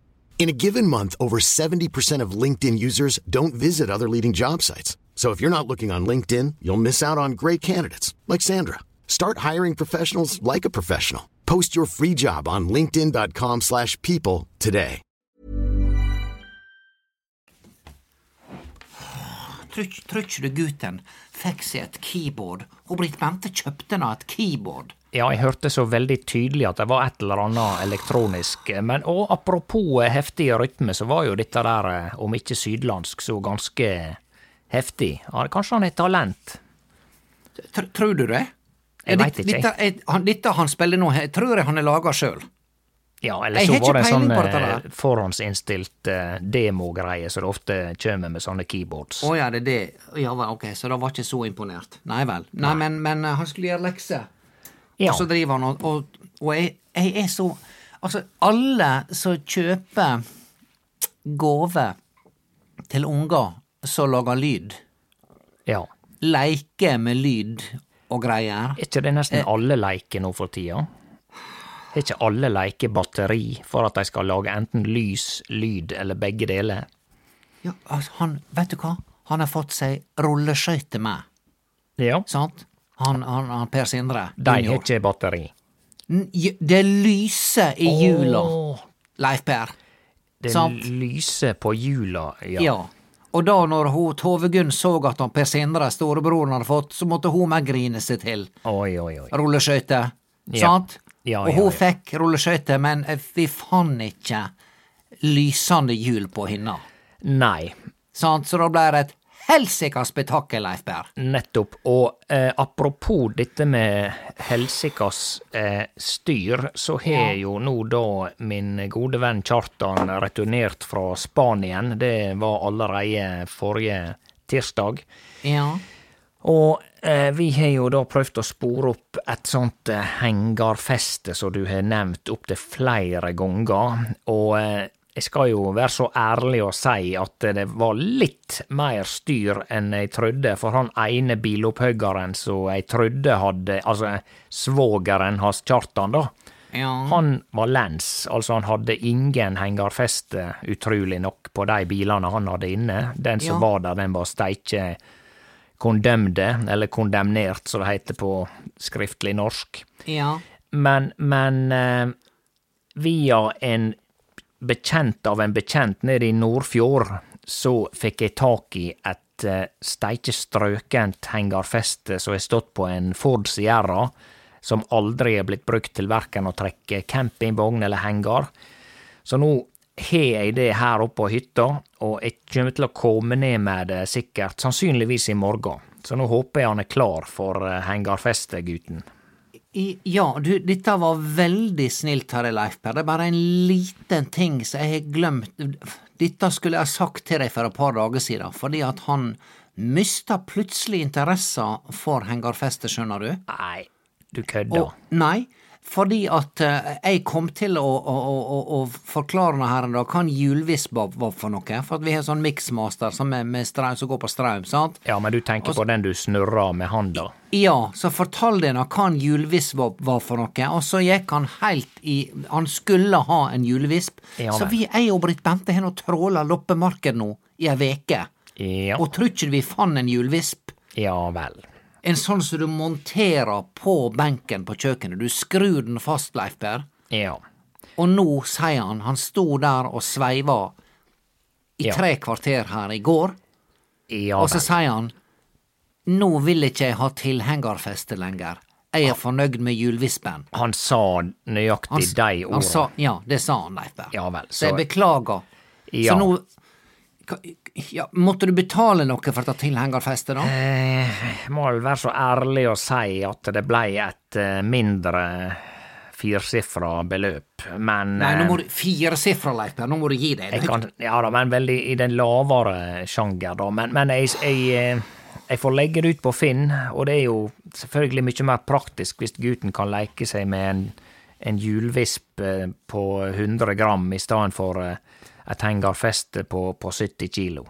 [SPEAKER 3] In a given month, over 70% of LinkedIn users don't visit other leading job sites. So if you're not looking on LinkedIn, you'll miss out on great candidates like Sandra. Start hiring professionals like a professional. Post your free job on linkedin.com/people slash people today.
[SPEAKER 2] Tror ikke- tror ikke du gutten fikk seg et keyboard, og Britt Bente kjøpte henne et keyboard?
[SPEAKER 1] Ja, jeg hørte så veldig tydelig at det var et eller annet elektronisk. eh, Men og apropos eh, heftig rytme, så var jo dette der, eh, om ikke sydlandsk, så ganske heftig. Ja, Kanskje han har talent?
[SPEAKER 2] Tr tror du det?
[SPEAKER 1] Jeg
[SPEAKER 2] Ja,
[SPEAKER 1] vet
[SPEAKER 2] ditt-
[SPEAKER 1] ikke, jeg.
[SPEAKER 2] Dette, er- han, dette han spiller nå, he- tror jeg han har laga sjøl.
[SPEAKER 1] Ja, eller
[SPEAKER 2] Jeg
[SPEAKER 1] så
[SPEAKER 2] har
[SPEAKER 1] var det
[SPEAKER 2] ikke
[SPEAKER 1] en sånn
[SPEAKER 2] peiling på dette
[SPEAKER 1] eh,
[SPEAKER 2] der.
[SPEAKER 1] forhåndsinnstilt eh, demogreie som det ofte kommer med sånne keyboards.
[SPEAKER 2] Å ja, det er det. Ja vel, ok, så da var ikke så imponert. Nei vel. Nei, Men, men eh, han skulle gjøre lekser,
[SPEAKER 1] Ja,
[SPEAKER 2] og så driver han og Og, og jeg, jeg er så Altså, alle som kjøper gave til unger som lager lyd,
[SPEAKER 1] ja.
[SPEAKER 2] leker med lyd og greier
[SPEAKER 1] Er ikke det
[SPEAKER 2] Eh.
[SPEAKER 1] nesten alle leker nå for tida? Er ikke alle leker batteri for at de skal lage enten lys, lyd eller begge deler?
[SPEAKER 2] Ja, altså, han, vet du hva? Han har fått seg rulleskøyter med,
[SPEAKER 1] Ja.
[SPEAKER 2] sant? Han, han, han Per Sindre.
[SPEAKER 1] De har
[SPEAKER 2] junior.
[SPEAKER 1] ikke batteri.
[SPEAKER 2] N- j- Det lyser i jula,
[SPEAKER 1] Åh,
[SPEAKER 2] Leif Per.
[SPEAKER 1] det
[SPEAKER 2] Sant.
[SPEAKER 1] lyser på hjula, ja.
[SPEAKER 2] Ja. Og da når hun, Tove Gunn så at han Per Sindre, storebroren, hadde fått, så måtte hun meg grine seg til.
[SPEAKER 1] Oi, oi, oi.
[SPEAKER 2] Rulleskøyter.
[SPEAKER 1] Ja.
[SPEAKER 2] Sant?
[SPEAKER 1] Ja,
[SPEAKER 2] og
[SPEAKER 1] ja,
[SPEAKER 2] hun
[SPEAKER 1] ja.
[SPEAKER 2] fikk rulleskøyter, men eh, vi fant ikke lysende hjul på henne.
[SPEAKER 1] Nei.
[SPEAKER 2] Sant? Så da ble det et helsikas spetakkel, Leif Per.
[SPEAKER 1] Nettopp. Og eh, apropos dette med helsikas eh, styr, så har jo nå da min gode venn Kjartan returnert fra Spanien. Det var allerede forrige tirsdag.
[SPEAKER 2] Ja.
[SPEAKER 1] Og eh, vi har jo da prøvd å spore opp et sånt eh, hengarfeste som du har nevnt opptil flere ganger. Og eh, jeg skal jo være så ærlig og si at det var litt mer styr enn jeg trodde, for han ene bilopphuggeren som jeg trodde hadde Altså svogeren hans, Kjartan, da.
[SPEAKER 2] ja.
[SPEAKER 1] Han var lens, altså han hadde ingen hengarfeste, utrolig nok, på de bilene han hadde inne. Den som
[SPEAKER 2] Ja.
[SPEAKER 1] var der, den var steike kondemnde, eller kondemnert, som det heter på skriftlig norsk.
[SPEAKER 2] Ja.
[SPEAKER 1] Men, men eh, via en bekjent av en bekjent nede i Nordfjord, så fikk jeg tak i et eh, steike strøkent hengarfeste som har stått på en Ford Sierra, som aldri er blitt brukt til verken å trekke campingvogn eller hengar. Så nå har jeg det her oppe på hytta, og jeg kommer til å komme ned med det sikkert, sannsynligvis i morgen. Så nå håper jeg han er klar for eh, hengarfestet, gutten.
[SPEAKER 2] I, ja, du, dette var veldig snilt av deg, Leif Per. Det er bare en liten ting som jeg har glemt. Dette skulle jeg ha sagt til deg for et par dager siden, fordi at han mista plutselig interessen for hengarfestet, skjønner du.
[SPEAKER 1] Nei, du kødder.
[SPEAKER 2] Og, nei, fordi at eh, jeg kom til å, å, å, å- å forklare noe her en dag, hva en hjulviss var var for noe. For at vi har sånn miksmaster som, er med strøm, som går på strøm, sant?
[SPEAKER 1] Ja, men du tenker på den du snurrer med handa.
[SPEAKER 2] Ja, så fortalte jeg henne hva en hjulvisp var, var for noe, og så gikk han helt i Han skulle ha en hjulvisp.
[SPEAKER 1] Ja,
[SPEAKER 2] så
[SPEAKER 1] men.
[SPEAKER 2] vi, jeg og Britt Bente har nå tråla loppemarked nå i ei veke,
[SPEAKER 1] Ja,
[SPEAKER 2] og tror ikke vi fant en hjulvisp?
[SPEAKER 1] ja vel.
[SPEAKER 2] En sånn som du monterer på benken på kjøkkenet. Du skrur den fast, Leif Per.
[SPEAKER 1] Ja.
[SPEAKER 2] Og nå, sier han, han sto der og sveiva i
[SPEAKER 1] Ja.
[SPEAKER 2] tre kvarter her i går,
[SPEAKER 1] Ja
[SPEAKER 2] og så
[SPEAKER 1] vel.
[SPEAKER 2] sier han Nå vil ikke jeg ha tilhengerfeste lenger. Jeg er fornøyd med hjulvispen.
[SPEAKER 1] Han sa nøyaktig
[SPEAKER 2] s-
[SPEAKER 1] de
[SPEAKER 2] han
[SPEAKER 1] ordene.
[SPEAKER 2] sa, ja, det sa han, Leif Berr.
[SPEAKER 1] Ja vel,
[SPEAKER 2] så,
[SPEAKER 1] så-
[SPEAKER 2] jeg beklager.
[SPEAKER 1] Ja.
[SPEAKER 2] Så nå Ka- ja, Måtte du betale noe for å ta tilhengerfeste, da?
[SPEAKER 1] Eh, Jeg må vel være så ærlig å si at det blei et eh, mindre firsifra beløp, men
[SPEAKER 2] Nei, nå
[SPEAKER 1] eh,
[SPEAKER 2] må du Fire sifre, Leif Berr, nå må du gi deg.
[SPEAKER 1] jeg kan, Ja da, men veldig i den lavere sjanger, da. Men, men jeg, jeg, eh, jeg får legge det ut på Finn, og det er jo selvfølgelig mye mer praktisk hvis gutten kan leke seg med en en hjulvisp eh, på 100 gram i stedet for eh, et hengarfeste på, på 70 kilo.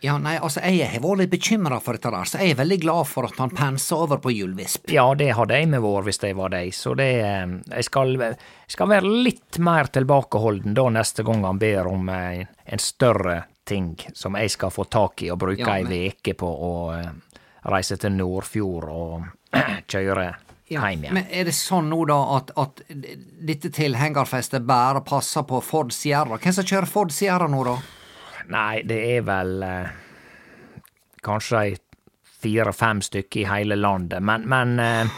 [SPEAKER 2] Ja, nei, altså, jeg har vært litt bekymra for dette der, så jeg er veldig glad for at han pensa over på hjulvisp.
[SPEAKER 1] Ja, det hadde jeg med vår hvis det var deg, så det eh, Jeg skal, jeg skal være litt mer tilbakeholden da neste gang han ber om eh, en større ting som jeg skal få tak i og bruke
[SPEAKER 2] Ja,
[SPEAKER 1] ei
[SPEAKER 2] men-
[SPEAKER 1] veke på å eh, reise til Nordfjord og [CLEARS THROAT] kjøre hjem igjen.
[SPEAKER 2] Men er det sånn nå, da, at, at dette tilhengerfestet bare passer på Ford Sierra? Hvem som kjører Ford Sierra nå, da?
[SPEAKER 1] Nei, det er vel eh, kanskje ei fire-fem stykker i hele landet, men, men eh,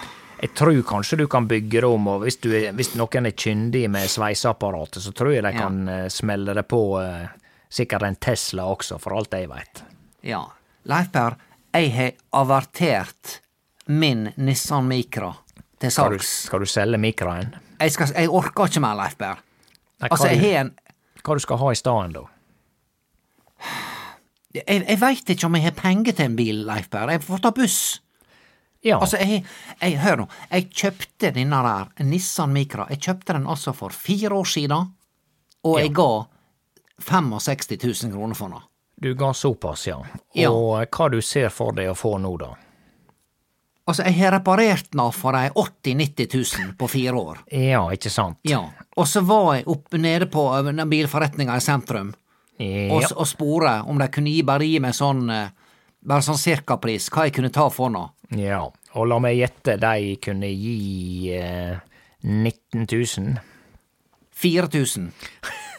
[SPEAKER 1] jeg tror kanskje du kan bygge det om, og hvis, du er, hvis noen er kyndige med sveiseapparatet, så tror jeg de
[SPEAKER 2] Ja.
[SPEAKER 1] kan eh, smelle det på eh, sikkert en Tesla også, for alt jeg veit.
[SPEAKER 2] Ja. Leif Per, jeg har avertert min Nissan Micra til
[SPEAKER 1] Skal, du-
[SPEAKER 2] salgs.
[SPEAKER 1] skal du selge mikroen?
[SPEAKER 2] Jeg, skal, jeg orker ikke mer, Leif Per.
[SPEAKER 1] Nei,
[SPEAKER 2] Altså,
[SPEAKER 1] hva,
[SPEAKER 2] jeg har en
[SPEAKER 1] hva du skal ha i stedet, da?
[SPEAKER 2] Jeg, jeg veit ikke om jeg har penger til en bil, Leif Per. Jeg får ta buss.
[SPEAKER 1] Ja,
[SPEAKER 2] Altså, jeg, jeg, hør nå, jeg kjøpte denne der, Nissan Micra, jeg kjøpte den altså for fire år siden, og jeg ga 65 000 kroner for den.
[SPEAKER 1] du ga såpass, ja. Og
[SPEAKER 2] Ja.
[SPEAKER 1] eh, hva du ser for deg å få nå, da?
[SPEAKER 2] Altså, jeg har reparert den for ei 80 000-90 000 på fire år.
[SPEAKER 1] Ja, ikke sant?
[SPEAKER 2] Ja. Og så var jeg oppe nede på eh, den bilforretninga i sentrum
[SPEAKER 1] Ja.
[SPEAKER 2] og, s- og spore om de kunne gi, bare gi meg sånn eh, bare sånn cirkapris, hva jeg kunne ta for den.
[SPEAKER 1] Ja, og la meg gjette, de kunne gi eh, 19 000
[SPEAKER 2] 4000.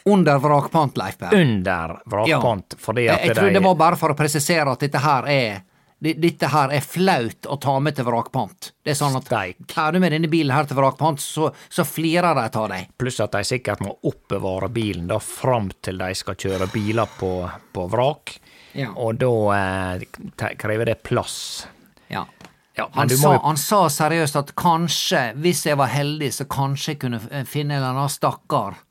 [SPEAKER 2] Under vrakpant, Leif
[SPEAKER 1] [LAUGHS]
[SPEAKER 2] Per.
[SPEAKER 1] under vrakpant, fordi
[SPEAKER 2] Jeg,
[SPEAKER 1] at
[SPEAKER 2] jeg tror
[SPEAKER 1] de
[SPEAKER 2] det var bare for å presisere at dette her er di- dette her er flaut å ta med til vrakpant. Det er sånn at
[SPEAKER 1] Steik.
[SPEAKER 2] tar du med denne bilen her til vrakpant, så, så flirer de av deg.
[SPEAKER 1] Pluss at de sikkert må oppbevare bilen da fram til de skal kjøre biler på, på vrak,
[SPEAKER 2] Ja.
[SPEAKER 1] og da eh, te- krever det plass.
[SPEAKER 2] Ja.
[SPEAKER 1] Ja, men
[SPEAKER 2] Han,
[SPEAKER 1] du må
[SPEAKER 2] sa,
[SPEAKER 1] jo-
[SPEAKER 2] han sa seriøst at kanskje, hvis jeg var heldig, så kanskje jeg kunne eh, finne en eller annen stakkar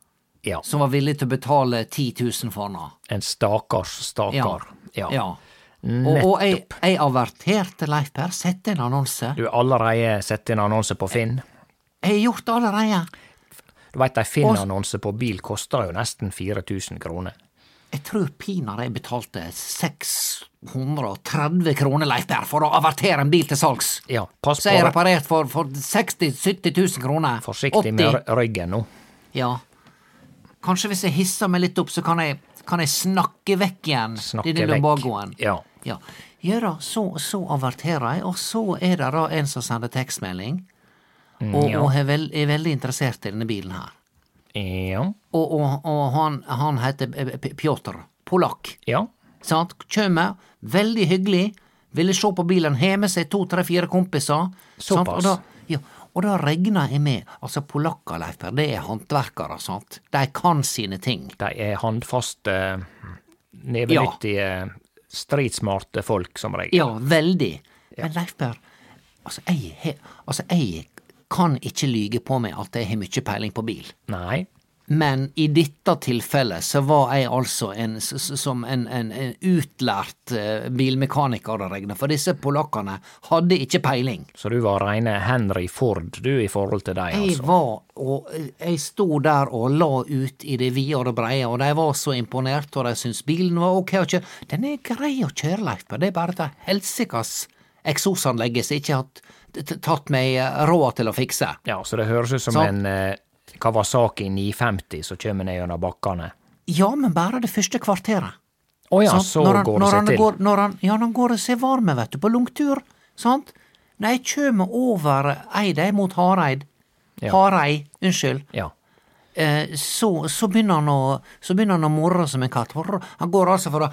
[SPEAKER 1] Ja,
[SPEAKER 2] som var villig til å betale 10 000 for den.
[SPEAKER 1] en stakkars stakkar. Ja.
[SPEAKER 2] ja. Og, og jeg, jeg averterte Leif Per, sette en annonse.
[SPEAKER 1] Du har allerede sett inn annonse på Finn.
[SPEAKER 2] Jeg har gjort det allerede.
[SPEAKER 1] Du veit ei Finn-annonse på bil koster jo nesten 4000 kroner.
[SPEAKER 2] Jeg tror pinadø jeg betalte 630 kroner, Leif Berr, for å avertere en bil til salgs.
[SPEAKER 1] Ja, pass
[SPEAKER 2] Så jeg er
[SPEAKER 1] på
[SPEAKER 2] reparert for, for 60 000-70 000 kroner.
[SPEAKER 1] forsiktig
[SPEAKER 2] 80
[SPEAKER 1] med rø- ryggen nå.
[SPEAKER 2] Ja. Kanskje hvis jeg hisser meg litt opp, så kan jeg, kan jeg snakke vekk igjen
[SPEAKER 1] Snakke
[SPEAKER 2] denne
[SPEAKER 1] vekk.
[SPEAKER 2] lumbagoen.
[SPEAKER 1] Ja.
[SPEAKER 2] Ja. ja da, så, så averterer jeg, og så er det da en som sender tekstmelding, og,
[SPEAKER 1] Mm, ja.
[SPEAKER 2] og er, vel, er veldig interessert i denne bilen her.
[SPEAKER 1] Ja.
[SPEAKER 2] Og, og, og han, han heter eh, P- Pjotr, polakk.
[SPEAKER 1] Ja.
[SPEAKER 2] Sant? Kjømer, veldig hyggelig, ville se på bilen, har med seg to, tre, fire kompiser. sant?
[SPEAKER 1] Såpass.
[SPEAKER 2] Og da, ja, og da regner jeg med Altså, polakker, Leif Per, det er håndverkere, sant? De kan sine ting.
[SPEAKER 1] De er handfaste, nevenyttige, stridsmarte folk, som regel.
[SPEAKER 2] Ja, veldig. Men Leif Per, altså, jeg har Altså, jeg kan ikke lyge på meg at jeg har mye peiling på bil.
[SPEAKER 1] Nei.
[SPEAKER 2] Men i dette tilfellet så var jeg altså en, s- s- som en, en, en utlært eh, bilmekaniker å regne, for disse polakkene hadde ikke peiling.
[SPEAKER 1] Så du var reine Henry Ford, du, i forhold til deg,
[SPEAKER 2] Jeg
[SPEAKER 1] altså.
[SPEAKER 2] var og jeg sto der og la ut i det vide og det breie, og de var så imponert, og de syntes bilen var ok å kjøre. Den er grei å kjøre, Leif, men det er bare det helsikas eksosanlegget som ikke har t- t- tatt meg eh, råd til å fikse.
[SPEAKER 1] Ja, så det høres ut som
[SPEAKER 2] Så-
[SPEAKER 1] en eh, Kawasaki 950 som kommer ned gjennom bakkene.
[SPEAKER 2] Ja, men bare det første kvarteret.
[SPEAKER 1] Å ja,
[SPEAKER 2] sant?
[SPEAKER 1] så
[SPEAKER 2] Når han-
[SPEAKER 1] går
[SPEAKER 2] når
[SPEAKER 1] det
[SPEAKER 2] han
[SPEAKER 1] seg til.
[SPEAKER 2] Går, når han, ja, når han går og ser varme, vet du, på langtur, sant? Når jeg kjem over Eidei mot Hareid,
[SPEAKER 1] Ja.
[SPEAKER 2] Harei, unnskyld,
[SPEAKER 1] Ja.
[SPEAKER 2] eh, så, så begynner han å så begynner han å morre som en katt. Brr. Han går altså fra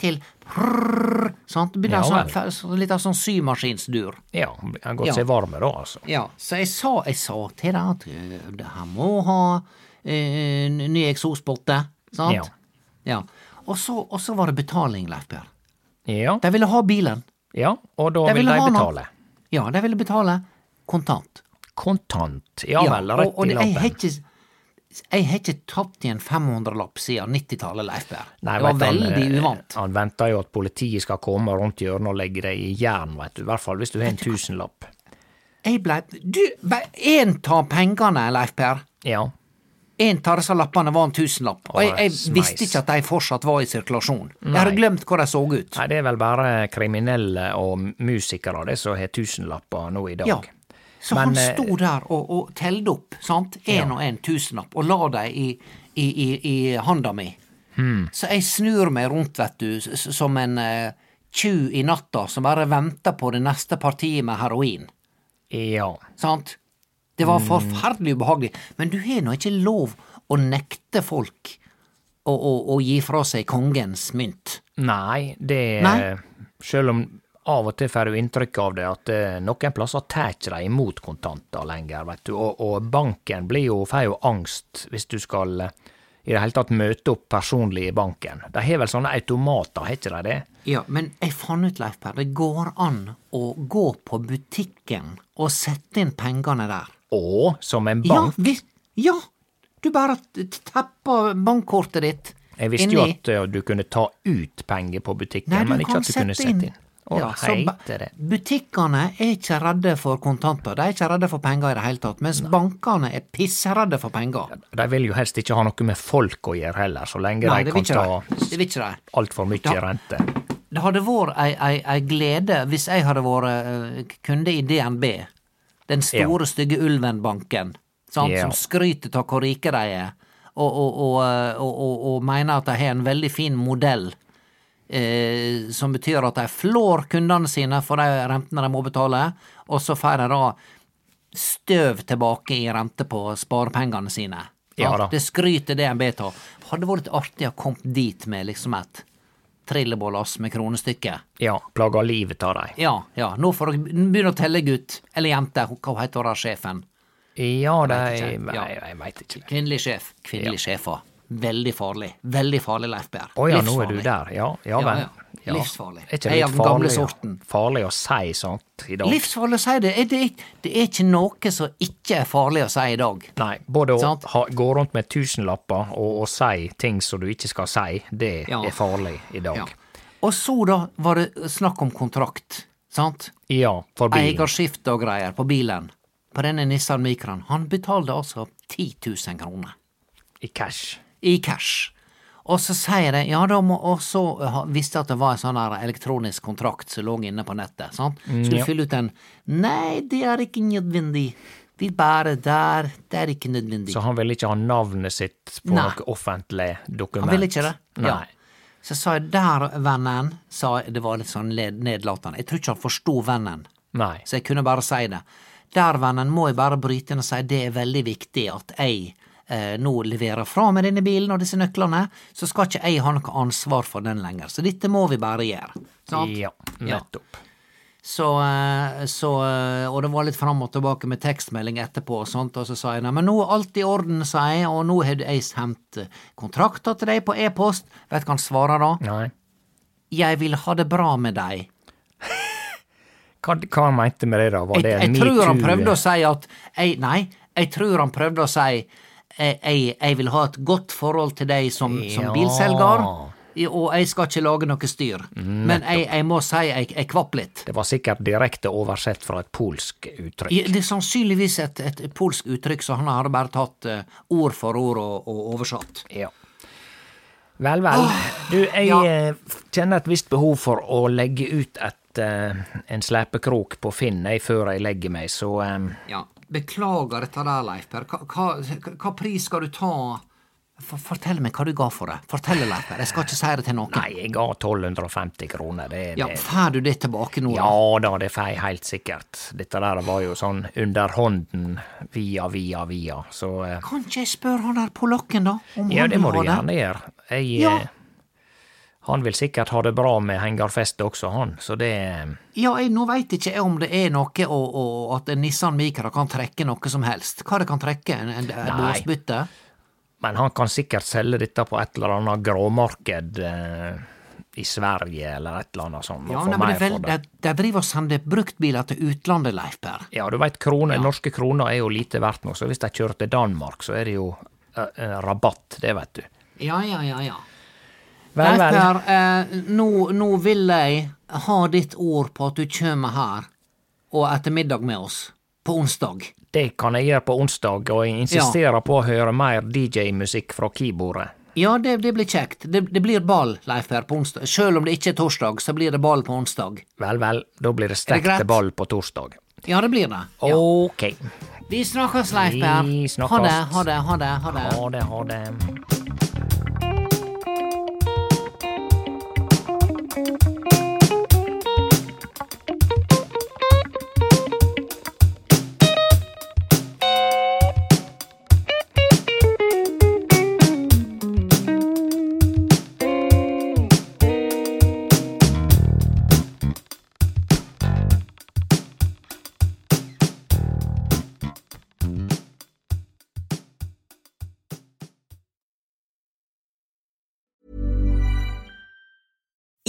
[SPEAKER 2] til brr, sant? Begynner
[SPEAKER 1] Ja
[SPEAKER 2] sånn,
[SPEAKER 1] vel.
[SPEAKER 2] fa- litt av sånn symaskinsdur.
[SPEAKER 1] ja. Han går
[SPEAKER 2] Ja.
[SPEAKER 1] seg varme, da, altså.
[SPEAKER 2] Ja, så jeg sa, jeg sa til deg at ø, det- han må ha ø, n- ny eksospotte, sant?
[SPEAKER 1] Ja.
[SPEAKER 2] Ja. Og, så, og så var det betaling, Leif Bjørn.
[SPEAKER 1] Ja.
[SPEAKER 2] De ville ha bilen.
[SPEAKER 1] ja. Og da
[SPEAKER 2] De
[SPEAKER 1] vil
[SPEAKER 2] ville
[SPEAKER 1] de
[SPEAKER 2] ha noe.
[SPEAKER 1] betale.
[SPEAKER 2] Ja, de ville betale kontant.
[SPEAKER 1] Kontant. Ja vel,
[SPEAKER 2] og,
[SPEAKER 1] rett
[SPEAKER 2] og
[SPEAKER 1] i
[SPEAKER 2] det- jeg har
[SPEAKER 1] lappen.
[SPEAKER 2] ikke, jeg har ikke tapt i en 500-lapp siden 90-tallet, Leif Bjørn.
[SPEAKER 1] Nei,
[SPEAKER 2] Det var
[SPEAKER 1] vet du,
[SPEAKER 2] veldig
[SPEAKER 1] han, eh,
[SPEAKER 2] uvant.
[SPEAKER 1] Han venter jo at politiet skal komme rundt hjørnet og legge deg i jern, veit du. I hvert fall hvis du har en tusenlapp.
[SPEAKER 2] Jeg blei Du, én tar pengene, Leif Per.
[SPEAKER 1] Ja.
[SPEAKER 2] Én tar disse lappene var en tusenlapp, og jeg, jeg
[SPEAKER 1] Å,
[SPEAKER 2] visste
[SPEAKER 1] smeis.
[SPEAKER 2] ikke at de fortsatt var i sirkulasjon. Jeg
[SPEAKER 1] Nei.
[SPEAKER 2] hadde glemt hvor de så ut.
[SPEAKER 1] Nei, det er vel bare kriminelle og musikere det som har tusenlapper nå i dag.
[SPEAKER 2] Ja. Så
[SPEAKER 1] Men,
[SPEAKER 2] han
[SPEAKER 1] eh,
[SPEAKER 2] sto der og, og telte opp, sant, én og én tusenlapp, og la dem i, i, i, i handa mi.
[SPEAKER 1] Hmm.
[SPEAKER 2] Så jeg snur meg rundt, vet du, s- s- som en eh, tjuv i natta som bare venter på det neste partiet med heroin.
[SPEAKER 1] Ja.
[SPEAKER 2] Sant? Det
[SPEAKER 1] Hmm.
[SPEAKER 2] var forferdelig ubehagelig. Men du har nå ikke lov å nekte folk å, å, å gi fra seg kongens mynt.
[SPEAKER 1] Nei, det eh,
[SPEAKER 2] Nei.
[SPEAKER 1] Selv om av og til får du inntrykk av det at eh, noen plasser tar ikke de imot kontanter lenger, vet du, og, og banken blir jo, får jo angst hvis du skal eh, i det hele tatt møte opp personlig i banken. De har vel sånne automater, har ikke de det?
[SPEAKER 2] Ja, men jeg fant ut, Leif Per, det går an å gå på butikken og sette inn pengene der.
[SPEAKER 1] Og som en
[SPEAKER 2] Ja,
[SPEAKER 1] bank
[SPEAKER 2] vi, ja, du bare t- t- tapper bankkortet ditt
[SPEAKER 1] Jeg visste jo at eh, du kunne ta ut penger på butikken,
[SPEAKER 2] Nei, du
[SPEAKER 1] men ikke
[SPEAKER 2] kan
[SPEAKER 1] at du kunne
[SPEAKER 2] sette
[SPEAKER 1] sette inn. Å,
[SPEAKER 2] Ja, så ba-
[SPEAKER 1] heiter det.
[SPEAKER 2] Butikkene er ikke redde for kontanter, de er ikke redde for penger i det hele tatt, mens bankene er pissredde for penger.
[SPEAKER 1] De vil jo helst ikke ha noe med folk å gjøre heller, så lenge
[SPEAKER 2] Nei,
[SPEAKER 1] de
[SPEAKER 2] det
[SPEAKER 1] kan
[SPEAKER 2] vil ikke
[SPEAKER 1] ta
[SPEAKER 2] de. Det vil ikke de.
[SPEAKER 1] altfor mye
[SPEAKER 2] Ja.
[SPEAKER 1] rente.
[SPEAKER 2] Det hadde vært ei, ei, ei glede hvis jeg hadde vært eh, kunde i DNB, den store, stygge Ulven-banken, sant,
[SPEAKER 1] Ja.
[SPEAKER 2] som skryter av hvor rike de er, og, og, og, eh, og, og, og mener at de har en veldig fin modell. Eh, som betyr at de flår kundene sine for de rentene de må betale, og så får de da støv tilbake i rente på sparepengene sine.
[SPEAKER 1] Ja da.
[SPEAKER 2] Det skryter DNB av. Hadde vært litt artig å komme dit med liksom et trillebårlass med kronestykket.
[SPEAKER 1] Ja, plager livet av dem.
[SPEAKER 2] Ja, ja, nå får dere begynne å telle, gutt. Eller jente, hva heter hun der sjefen?
[SPEAKER 1] Ja, de
[SPEAKER 2] vet ikke.
[SPEAKER 1] Nei,
[SPEAKER 2] Ja.
[SPEAKER 1] jeg veit ikke.
[SPEAKER 2] Kvinnelig sjef. Kvinnelig sjefer. Veldig farlig. Veldig farlig, Leif Berr.
[SPEAKER 1] Å ja, nå er du der. Ja, ja
[SPEAKER 2] Ja,
[SPEAKER 1] vel.
[SPEAKER 2] ja. Livsfarlig.
[SPEAKER 1] Er ikke
[SPEAKER 2] Jeg
[SPEAKER 1] det
[SPEAKER 2] er
[SPEAKER 1] litt
[SPEAKER 2] den gamle
[SPEAKER 1] farlig,
[SPEAKER 2] sorten.
[SPEAKER 1] farlig å si sånt i dag?
[SPEAKER 2] Livsfarlig å si det. Er det, ikke- det er ikke noe som ikke er farlig å si i dag.
[SPEAKER 1] Nei, både å
[SPEAKER 2] Sant.
[SPEAKER 1] ha, gå rundt med tusenlapper og å si ting som du ikke skal si, det
[SPEAKER 2] Ja.
[SPEAKER 1] er farlig i dag.
[SPEAKER 2] Ja.
[SPEAKER 1] Ja,
[SPEAKER 2] Og så, da, var det snakk om kontrakt. Sant?
[SPEAKER 1] for bilen.
[SPEAKER 2] Eierskifte og greier på bilen. På denne Nissan Micran. Han betalte altså 10 000 kroner.
[SPEAKER 1] I cash.
[SPEAKER 2] i cash. Og så sier de ja, da må også ha- visste at det var en sånn her elektronisk kontrakt som lå inne på nettet. sant?
[SPEAKER 1] Mm,
[SPEAKER 2] Skulle fylle ut en Nei, det er ikke nødvendig. Vi bare der. Det er ikke nødvendig.
[SPEAKER 1] Så han ville ikke ha navnet sitt på
[SPEAKER 2] Nei.
[SPEAKER 1] noe offentlig dokument.
[SPEAKER 2] Han ville ikke det?
[SPEAKER 1] Nei.
[SPEAKER 2] Ja. Så sa jeg der, vennen, sa jeg, det var litt sånn led- nedlatende. Jeg tror ikke han forsto vennen,
[SPEAKER 1] Nei.
[SPEAKER 2] så jeg kunne bare si det. Der, vennen, må jeg bare bryte inn og si det er veldig viktig at jeg eh, nå leverer fra meg denne bilen og disse nøklene, så skal ikke jeg ha noe ansvar for den lenger. Så dette må vi bare gjøre. Sant?
[SPEAKER 1] Ja, nettopp.
[SPEAKER 2] Så, eh, så, eh, og det var litt fram og tilbake med tekstmelding etterpå, og sånt, og så sa jeg nei, men nå er alt i orden, sa jeg, og nå har jeg sendt kontrakter til deg på e-post. Vet du hva han svarer da?
[SPEAKER 1] Nei.
[SPEAKER 2] Jeg vil ha det bra med deg.
[SPEAKER 1] Hva, hva han mente med det, da? Var
[SPEAKER 2] Jeg,
[SPEAKER 1] det
[SPEAKER 2] jeg
[SPEAKER 1] metoo?
[SPEAKER 2] tror han prøvde å si at jeg, Nei, jeg tror han prøvde å si jeg, jeg, jeg vil ha et godt forhold til deg som, som
[SPEAKER 1] Ja.
[SPEAKER 2] bilselger, og jeg skal ikke lage noe styr.
[SPEAKER 1] Mm,
[SPEAKER 2] Men jeg, jeg må si jeg, jeg kvapp litt.
[SPEAKER 1] Det var sikkert direkte oversett fra et polsk uttrykk.
[SPEAKER 2] Ja, Det er sannsynligvis et, et polsk uttrykk, så han hadde bare tatt eh, ord for ord og, og oversatt.
[SPEAKER 1] Ja. Vel, vel. Du, jeg
[SPEAKER 2] ja.
[SPEAKER 1] eh, kjenner et visst behov for å legge ut et, eh, en slepekrok på Finn jeg, før jeg legger meg, så eh,
[SPEAKER 2] Ja. Beklager dette der, Leif Per. Hva, hva, hva pris skal du ta? For, fortell meg hva du ga for det. Fortell, Leif Per. Jeg skal ikke si det til noen.
[SPEAKER 1] Nei, jeg ga 1250 kroner. Det,
[SPEAKER 2] Ja,
[SPEAKER 1] det,
[SPEAKER 2] Får du det tilbake nå? da?
[SPEAKER 1] ja da, det får jeg helt sikkert. Dette der var jo sånn underhånden via, via, via, så eh,
[SPEAKER 2] Kan ikke jeg spørre han der polakken, da? Om
[SPEAKER 1] Ja,
[SPEAKER 2] han
[SPEAKER 1] det
[SPEAKER 2] vil
[SPEAKER 1] må du
[SPEAKER 2] ha
[SPEAKER 1] gjerne gjøre. Jeg,
[SPEAKER 2] Ja.
[SPEAKER 1] eh, Han vil sikkert ha det bra med hengerfestet også, han, så det eh,
[SPEAKER 2] Ja, jeg, nå veit ikke jeg om det er noe og, og at en Nissan Micra kan trekke noe som helst. Hva det kan trekke? En, en, en
[SPEAKER 1] Nei.
[SPEAKER 2] båsbytte?
[SPEAKER 1] Men han kan sikkert selge dette på et eller annet gråmarked eh, i Sverige eller et eller annet sånt. og
[SPEAKER 2] Ja,
[SPEAKER 1] få
[SPEAKER 2] nei, men det
[SPEAKER 1] mer
[SPEAKER 2] er vel,
[SPEAKER 1] for
[SPEAKER 2] de, de driver og sender bruktbiler til utlandet, Leif Per.
[SPEAKER 1] Ja, du veit, norske kroner er jo lite verdt nå, så hvis de kjører til Danmark, så er det jo eh, eh, rabatt, det veit du.
[SPEAKER 2] Ja, ja, ja, ja.
[SPEAKER 1] Vel,
[SPEAKER 2] Leif
[SPEAKER 1] vel.
[SPEAKER 2] Per, eh, nå, nå vil jeg ha ditt ord på at du kjem her og etter middag med oss. på onsdag.
[SPEAKER 1] Det kan jeg gjøre på onsdag, og jeg insisterer på å høre mer DJ-musikk fra keyboardet.
[SPEAKER 2] Ja, det, det blir kjekt. Det, det blir ball, Leif Per, på onsdag. Sjøl om det ikke er torsdag, så blir det ball på onsdag.
[SPEAKER 1] Vel, vel, da blir det
[SPEAKER 2] det greit?
[SPEAKER 1] stekte ball på torsdag.
[SPEAKER 2] Ja, det blir det. Ja.
[SPEAKER 1] Ok.
[SPEAKER 2] Vi snakkes, Leif Per.
[SPEAKER 1] Vi snakkes.
[SPEAKER 2] Ha det, ha det, ha det. Ha det.
[SPEAKER 1] Ha det, ha det.